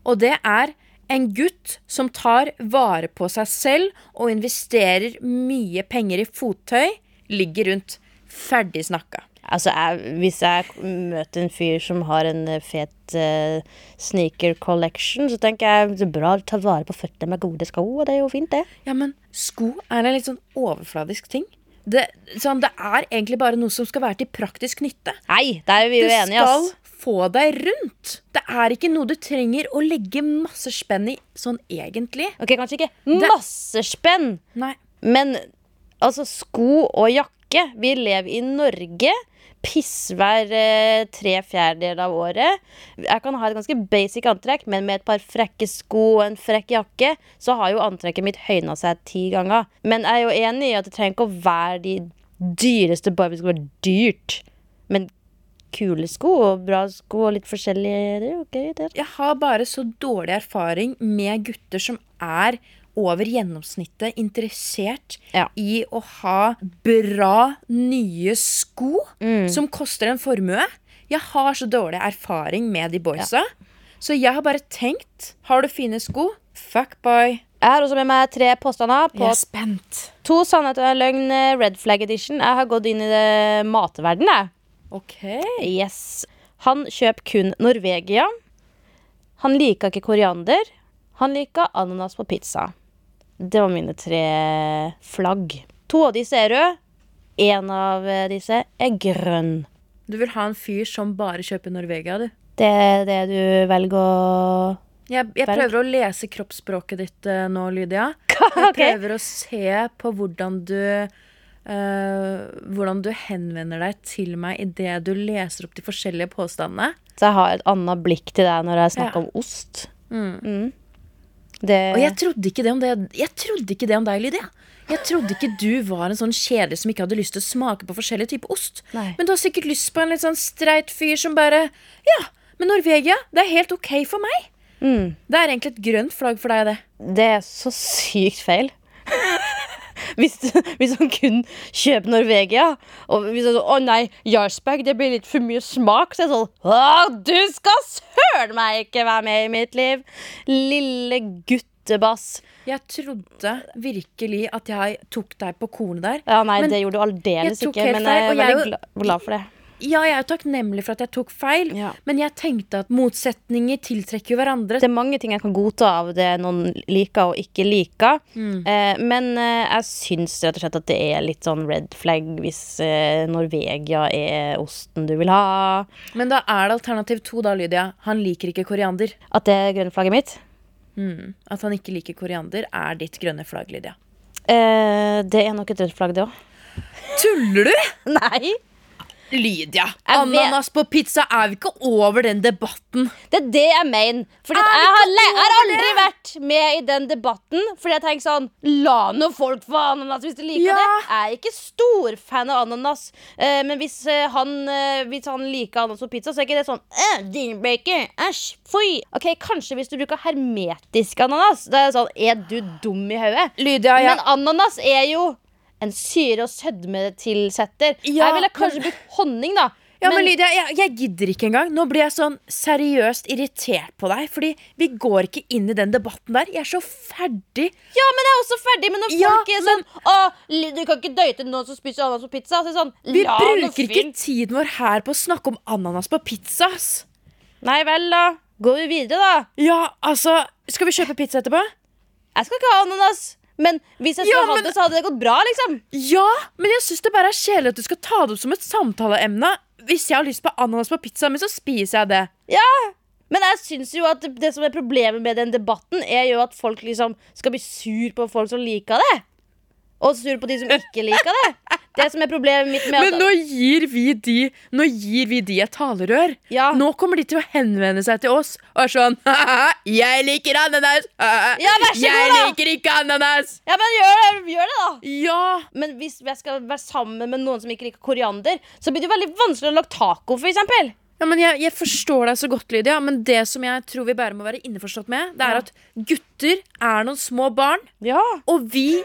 [SPEAKER 3] Og det er en gutt som tar vare på seg selv og investerer mye penger i fottøy, ligger rundt. Ferdig snakka.
[SPEAKER 2] Altså, jeg, Hvis jeg møter en fyr som har en eh, fet eh, sneaker collection, så tenker jeg så bra ta vare på føttene med gode sko. og Det er jo fint, det.
[SPEAKER 3] Ja, men sko er en litt sånn overfladisk ting. Det, sånn, det er egentlig bare noe som skal være til praktisk nytte.
[SPEAKER 2] Nei, der er vi
[SPEAKER 3] Du
[SPEAKER 2] uenige,
[SPEAKER 3] skal
[SPEAKER 2] ass.
[SPEAKER 3] få deg rundt. Det er ikke noe du trenger å legge masse spenn i sånn egentlig.
[SPEAKER 2] Ok, Kanskje ikke masse spenn,
[SPEAKER 3] Nei.
[SPEAKER 2] men Altså sko og jakke. Vi lever i Norge. Pissvær eh, tre fjerdedeler av året. Jeg kan ha et ganske basic antrekk, men med et par frekke sko og en frekk jakke, så har jo antrekket mitt høyna seg ti ganger. Men jeg er jo enig i at det trenger ikke å være de dyreste, bare hvis det skal være dyrt. Men kule sko og bra sko og litt forskjellig, det er jo gøy, det.
[SPEAKER 3] Jeg har bare så dårlig erfaring med gutter som er over gjennomsnittet interessert
[SPEAKER 2] Ja.
[SPEAKER 3] i å ha bra, nye sko
[SPEAKER 2] Mm.
[SPEAKER 3] som koster en formue. Jeg har så dårlig erfaring med de boysa. Så jeg har bare tenkt Har du fine sko? Fuck boy.
[SPEAKER 2] Jeg har også med meg tre påstander på
[SPEAKER 3] spent.
[SPEAKER 2] to sannhet og en løgn, eh, red flag edition. Jeg har gått inn i det matverden, jeg.
[SPEAKER 3] OK.
[SPEAKER 2] Yes. Han kjøper kun Norvegia. Han liker ikke koriander. Han liker ananas på pizza. Det var mine tre flagg. To av disse er røde. Én av eh, disse er grønn.
[SPEAKER 3] Du vil ha en fyr som bare kjøper Norvegia, du.
[SPEAKER 2] Det er det du velger å
[SPEAKER 3] Jeg, jeg
[SPEAKER 2] Vel.
[SPEAKER 3] prøver å lese kroppsspråket ditt eh, nå, Lydia. Jeg
[SPEAKER 2] Ok.
[SPEAKER 3] prøver å se på hvordan du eh, Hvordan du henvender deg til meg idet du leser opp de forskjellige påstandene.
[SPEAKER 2] Så jeg har et annet blikk til deg når jeg snakker
[SPEAKER 3] Ja.
[SPEAKER 2] om ost. Mm. Det,
[SPEAKER 3] Og jeg trodde ikke det om, det, jeg trodde ikke det om deg, Lydia. Jeg trodde ikke du var en sånn kjedelig som ikke hadde lyst til å smake på forskjellige typer ost.
[SPEAKER 2] Nei.
[SPEAKER 3] Men du har sikkert lyst på en litt sånn streit fyr som bare Ja, men Norvegia, det er helt ok for meg.
[SPEAKER 2] mm.
[SPEAKER 3] Det er egentlig et grønt flagg for deg, det.
[SPEAKER 2] Det er så sykt feil. (laughs) Hvis, hvis han kun kjøper Norvegia, og hvis han sånn, å nei, Jarlsberg, det blir litt for mye smak, så er det sånn, «Åh, du skal søren meg ikke være med i mitt liv, lille guttebass.
[SPEAKER 3] Jeg trodde virkelig at jeg tok deg på kornet der.
[SPEAKER 2] Ja, nei,
[SPEAKER 3] Men
[SPEAKER 2] det gjorde du aldeles
[SPEAKER 3] jeg tok
[SPEAKER 2] ikke,
[SPEAKER 3] helt
[SPEAKER 2] men
[SPEAKER 3] feil,
[SPEAKER 2] jeg
[SPEAKER 3] og
[SPEAKER 2] er
[SPEAKER 3] jeg er
[SPEAKER 2] veldig
[SPEAKER 3] jo-
[SPEAKER 2] gla- glad for det.
[SPEAKER 3] Ja, jeg er takknemlig for at jeg tok feil,
[SPEAKER 2] Ja.
[SPEAKER 3] men jeg tenkte at motsetninger tiltrekker jo hverandre.
[SPEAKER 2] Det er mange ting jeg kan godta av det noen liker og ikke liker. Eh, men eh, jeg syns rett og slett at det er litt sånn red flag hvis eh, Norvegia er osten du vil ha.
[SPEAKER 3] Men da er det alternativ to, da, Lydia. Han liker ikke koriander.
[SPEAKER 2] At det er grønnflagget mitt.
[SPEAKER 3] Mm. At han ikke liker koriander, er ditt grønne flagg, Lydia.
[SPEAKER 2] Eh, det er nok et rødt flagg, det òg.
[SPEAKER 3] Tuller du?!
[SPEAKER 2] Nei!
[SPEAKER 3] Lydia!
[SPEAKER 2] Jeg vet-
[SPEAKER 3] Ananas på pizza er vi ikke over den debatten.
[SPEAKER 2] Det er det jeg mener. Fordi at jeg har, le- jeg har aldri vært med i den debatten. Fordi jeg tenker sånn La nå folk få ananas hvis de liker
[SPEAKER 3] Ja.
[SPEAKER 2] det. Jeg er ikke stor fan av ananas. Eh, men hvis, eh, han, eh, hvis han liker ananas på pizza, så er ikke det sånn «Øh, Dealbreaker. Æsj. Fy. Ok, Kanskje hvis du bruker hermetisk ananas. Da er det sånn Er du dum i hodet?
[SPEAKER 3] Lydia, jeg
[SPEAKER 2] Men ananas er jo en syre- og sødmetilsetter.
[SPEAKER 3] Ja,
[SPEAKER 2] jeg ville kanskje brukt honning, da.
[SPEAKER 3] Ja, men, Lydia, jeg, jeg gidder ikke engang. Nå blir jeg sånn seriøst irritert på deg. Fordi vi går ikke inn i den debatten der. Jeg er så ferdig.
[SPEAKER 2] ja, men jeg er også ferdig med når
[SPEAKER 3] Ja,
[SPEAKER 2] folk er sånn Å, li- du kan ikke date noen som spiser ananas på pizza. Så er det sånn,
[SPEAKER 3] Vi
[SPEAKER 2] la nå
[SPEAKER 3] bruker ikke
[SPEAKER 2] fyren-
[SPEAKER 3] tiden vår her på å snakke om ananas på pizza. ass.
[SPEAKER 2] Nei vel, da. Går vi videre, da?
[SPEAKER 3] Ja, altså Skal vi kjøpe pizza etterpå?
[SPEAKER 2] Jeg skal ikke ha ananas. Men hvis jeg
[SPEAKER 3] Ja,
[SPEAKER 2] skulle hatt
[SPEAKER 3] men-
[SPEAKER 2] det, så hadde det gått bra, liksom.
[SPEAKER 3] Ja, men jeg syns det bare er kjedelig at du skal ta det opp som et samtaleemne. Hvis jeg har lyst på ananas på pizza, men så spiser jeg det.
[SPEAKER 2] Men jeg synes jo at det som er problemet med den debatten, er jo at folk liksom skal bli sur på folk som liker det. Og sur på de som ikke liker det. Det som er problemet mitt med
[SPEAKER 3] Men nå gir vi de Nå gir vi de et talerør.
[SPEAKER 2] Ja.
[SPEAKER 3] Nå kommer de til å henvende seg til oss og er sånn (laughs) «Haha, Jeg liker ananas! Haha,
[SPEAKER 2] Ja, vær så god,
[SPEAKER 3] jeg
[SPEAKER 2] da!»
[SPEAKER 3] liker ikke ananas!
[SPEAKER 2] Ja, men gjør det, gjør det da!
[SPEAKER 3] Ja!
[SPEAKER 2] Men hvis jeg skal være sammen med noen som ikke liker koriander, så blir det veldig vanskelig å lage taco, for eksempel.
[SPEAKER 3] Ja, men jeg, jeg forstår deg så godt, Lydia, men det som jeg tror vi bare må være innforstått med, det
[SPEAKER 2] Ja.
[SPEAKER 3] er at gutter er noen små barn,
[SPEAKER 2] Ja.
[SPEAKER 3] og vi,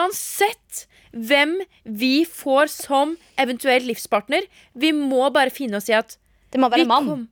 [SPEAKER 3] uansett hvem vi får som eventuell livspartner, vi må bare finne oss i at
[SPEAKER 2] Det må være
[SPEAKER 3] vi
[SPEAKER 2] en mann.
[SPEAKER 3] kom-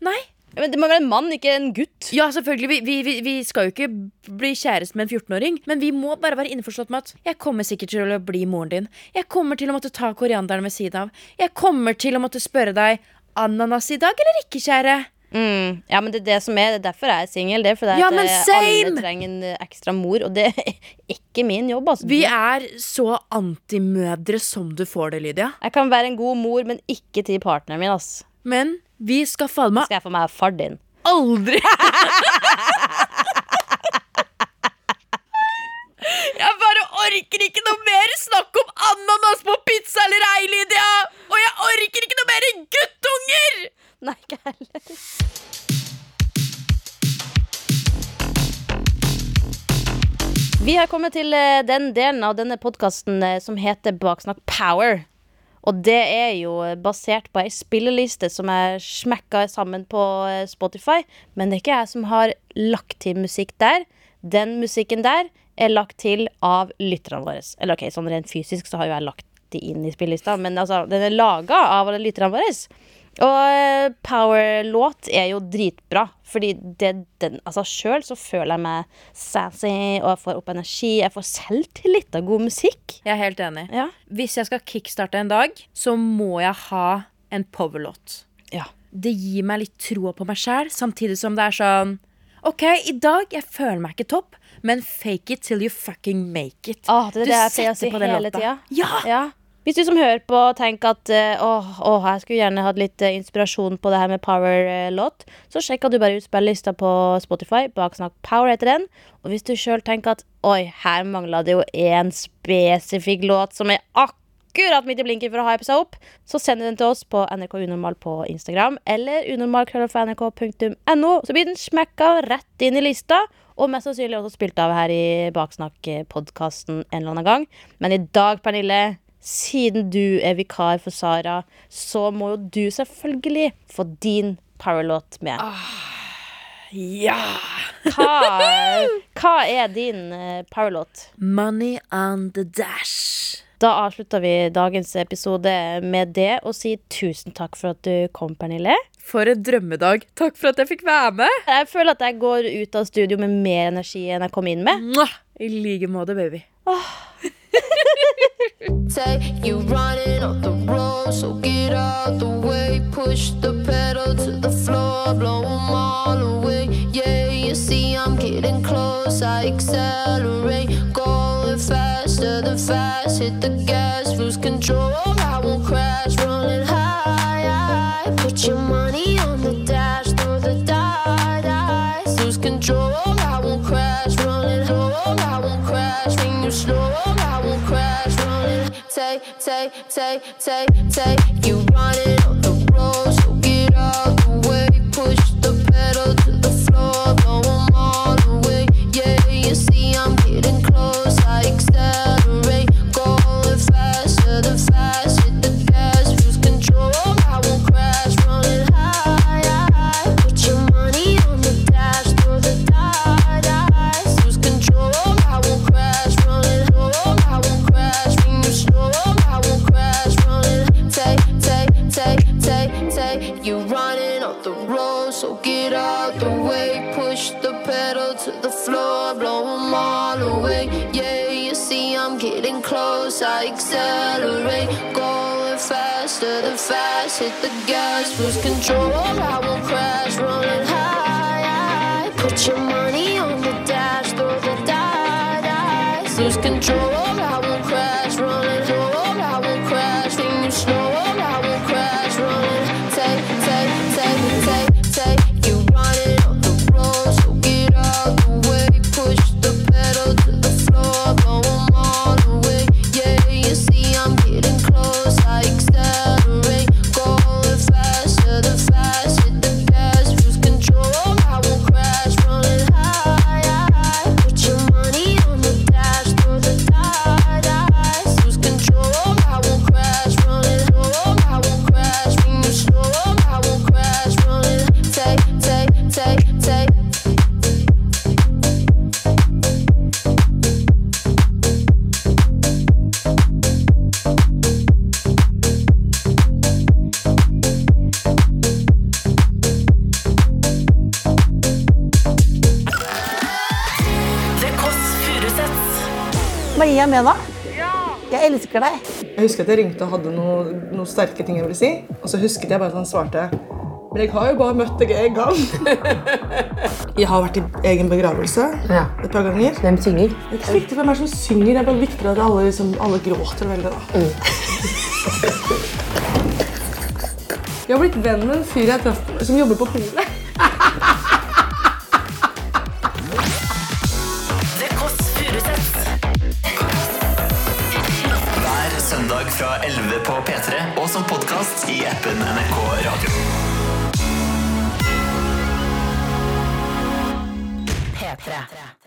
[SPEAKER 3] Nei.
[SPEAKER 2] Men det må være en mann, ikke en gutt.
[SPEAKER 3] Ja, selvfølgelig. Vi, vi, vi, vi skal jo ikke bli kjæreste med en 14-åring, men vi må bare være innforstått med at jeg kommer sikkert til å bli moren din. Jeg kommer til å måtte ta korianderen ved siden av. Jeg kommer til å måtte spørre deg ananas i dag eller ikke, kjære?
[SPEAKER 2] Mm. Ja, men det er det som er, det er derfor jeg er singel. Det er fordi
[SPEAKER 3] Ja,
[SPEAKER 2] at
[SPEAKER 3] men
[SPEAKER 2] eh,
[SPEAKER 3] same!
[SPEAKER 2] alle trenger en eh, ekstra mor, og det er (laughs) ikke min jobb, altså.
[SPEAKER 3] Vi er så antimødre som du får det, Lydia.
[SPEAKER 2] Jeg kan være en god mor, men ikke til partneren min, ass.
[SPEAKER 3] Men vi skal faen meg
[SPEAKER 2] Skal jeg få meg far din?
[SPEAKER 3] aldri (laughs) Jeg bare orker orker ikke noe mer snakk om ananas på pizza eller ei, Lydia! Og jeg orker ikke noe mer guttunger!
[SPEAKER 2] (laughs) Nei, ikke heller. Vi har kommet til eh, den delen av denne podkasten som heter Baksnakk power. Og det er jo eh, basert på ei spilleliste som jeg smekka sammen på eh, Spotify. Men det er ikke jeg som har lagt til musikk der. Den musikken der er lagt til av lytterne våre. Eller ok, sånn rent fysisk så har jo jeg lagt det inn i spillelista, men altså, den er laga av alle lytterne våre. Og eh, power-låt er jo dritbra, fordi det den Altså, sjøl så føler jeg meg sassy, og jeg får opp energi. Jeg får selvtillit av god musikk.
[SPEAKER 3] Jeg er helt enig.
[SPEAKER 2] Ja.
[SPEAKER 3] Hvis jeg skal kickstarte en dag, så må jeg ha en powerlåt.
[SPEAKER 2] ja.
[SPEAKER 3] Det gir meg litt troa på meg sjæl, samtidig som det er sånn OK, i dag jeg føler meg ikke topp, men fake it till you fucking make it.
[SPEAKER 2] Åh, det er
[SPEAKER 3] Du
[SPEAKER 2] det jeg pleier å si
[SPEAKER 3] setter på den
[SPEAKER 2] hele
[SPEAKER 3] låta.
[SPEAKER 2] tida.
[SPEAKER 3] Ja!
[SPEAKER 2] Hvis du som hører på tenker at eh, åh, åh, jeg skulle gjerne hatt litt eh, inspirasjon på det her med power-låt, så sjekka du bare ut spillelista på Spotify. Baksnakk Power heter den. Og hvis du sjøl tenker at oi, her mangla det jo én spesifikk låt som er akkurat midt i blinken for å hype seg opp, så send den til oss på NRK Unormal på Instagram eller unormal.nrk.no. Så blir den smekka rett inn i lista. Og mest sannsynlig også spilt av her i Baksnakk-podkasten en eller annen gang. Men i dag, Pernille, siden du er vikar for Sara, så må jo du selvfølgelig få din powerlåt med.
[SPEAKER 3] ja.
[SPEAKER 2] Hva, hva er din eh, powerlåt?
[SPEAKER 3] Money on the dash.
[SPEAKER 2] Da avslutter vi dagens episode med det, og sier tusen takk for at du kom, Pernille.
[SPEAKER 3] For en drømmedag. Takk for at jeg fikk være med.
[SPEAKER 2] Jeg føler at jeg går ut av studio med mer energi enn jeg kom inn med.
[SPEAKER 3] Mwah! I like måte, baby.
[SPEAKER 4] Say you running off the road, so get out the way. Push the pedal to the floor, blow 'em all away. Yeah, you see, I'm getting close, I accelerate. Going faster than fast, hit the gas, lose control. I won't crash, running high. Put your money on the dash, throw the dice. Lose control, I won't crash, running low. I won't crash, when you slow. I won't crash, running. Take, take, take, take, take. You running on the road, so get out the way. Push the pedal to the floor, blow 'em all away. Yeah, you see I'm getting close, I accelerate. Going faster than fast, hit the gas, lose control. I won't crash, running high. Put your money on the dash, throw the dice, lose control. I won't crash, running low. I won't crash, when you slow. I won't crash, running. Take, take, take, take, take. You running off the road, so get out the way. Push the pedal to the floor, blow 'em all away. Yeah, you see I'm getting close, I accelerate. Going faster than fast, hit the gas, lose control. I won't crash, running high. Put your money on the dash, throw the dice. Lose control, I won't crash, running low. I won't crash, when you slow. I won't crash, running. Take, take, take, take, take. You running on the road, so get out the way. Push the pedal to the floor, blow 'em all away. Yeah, you see I'm getting close, I accelerate. Going faster than fast, hit the gas, lose control. I won't crash, running high. Put your money on the dash, throw the dice, lose control. I won't crash, running low. I won't crash, when you slow. I won't crash, running. Take, take, take, take.
[SPEAKER 5] Det Kåss Furuseths.
[SPEAKER 6] Maria Mena. Jeg elsker deg.
[SPEAKER 7] Jeg husker at jeg ringte og hadde noen noe sterke ting jeg ville si. Og så husket jeg bare at han svarte Men jeg har jo bare møtt deg en gang. (laughs) jeg har vært i egen begravelse et par ganger. Hvem synger? Det er ikke så viktig hvem er det som synger. Det er bare viktigere at alle, liksom, alle gråter veldig. da. jeg har blitt venn med en fyr jeg traff som jobber på polet.
[SPEAKER 5] Det Kåss Furuseths.
[SPEAKER 8] hverdag fra 11 på P3 og som podkast i appen NRK Radio.
[SPEAKER 5] P3.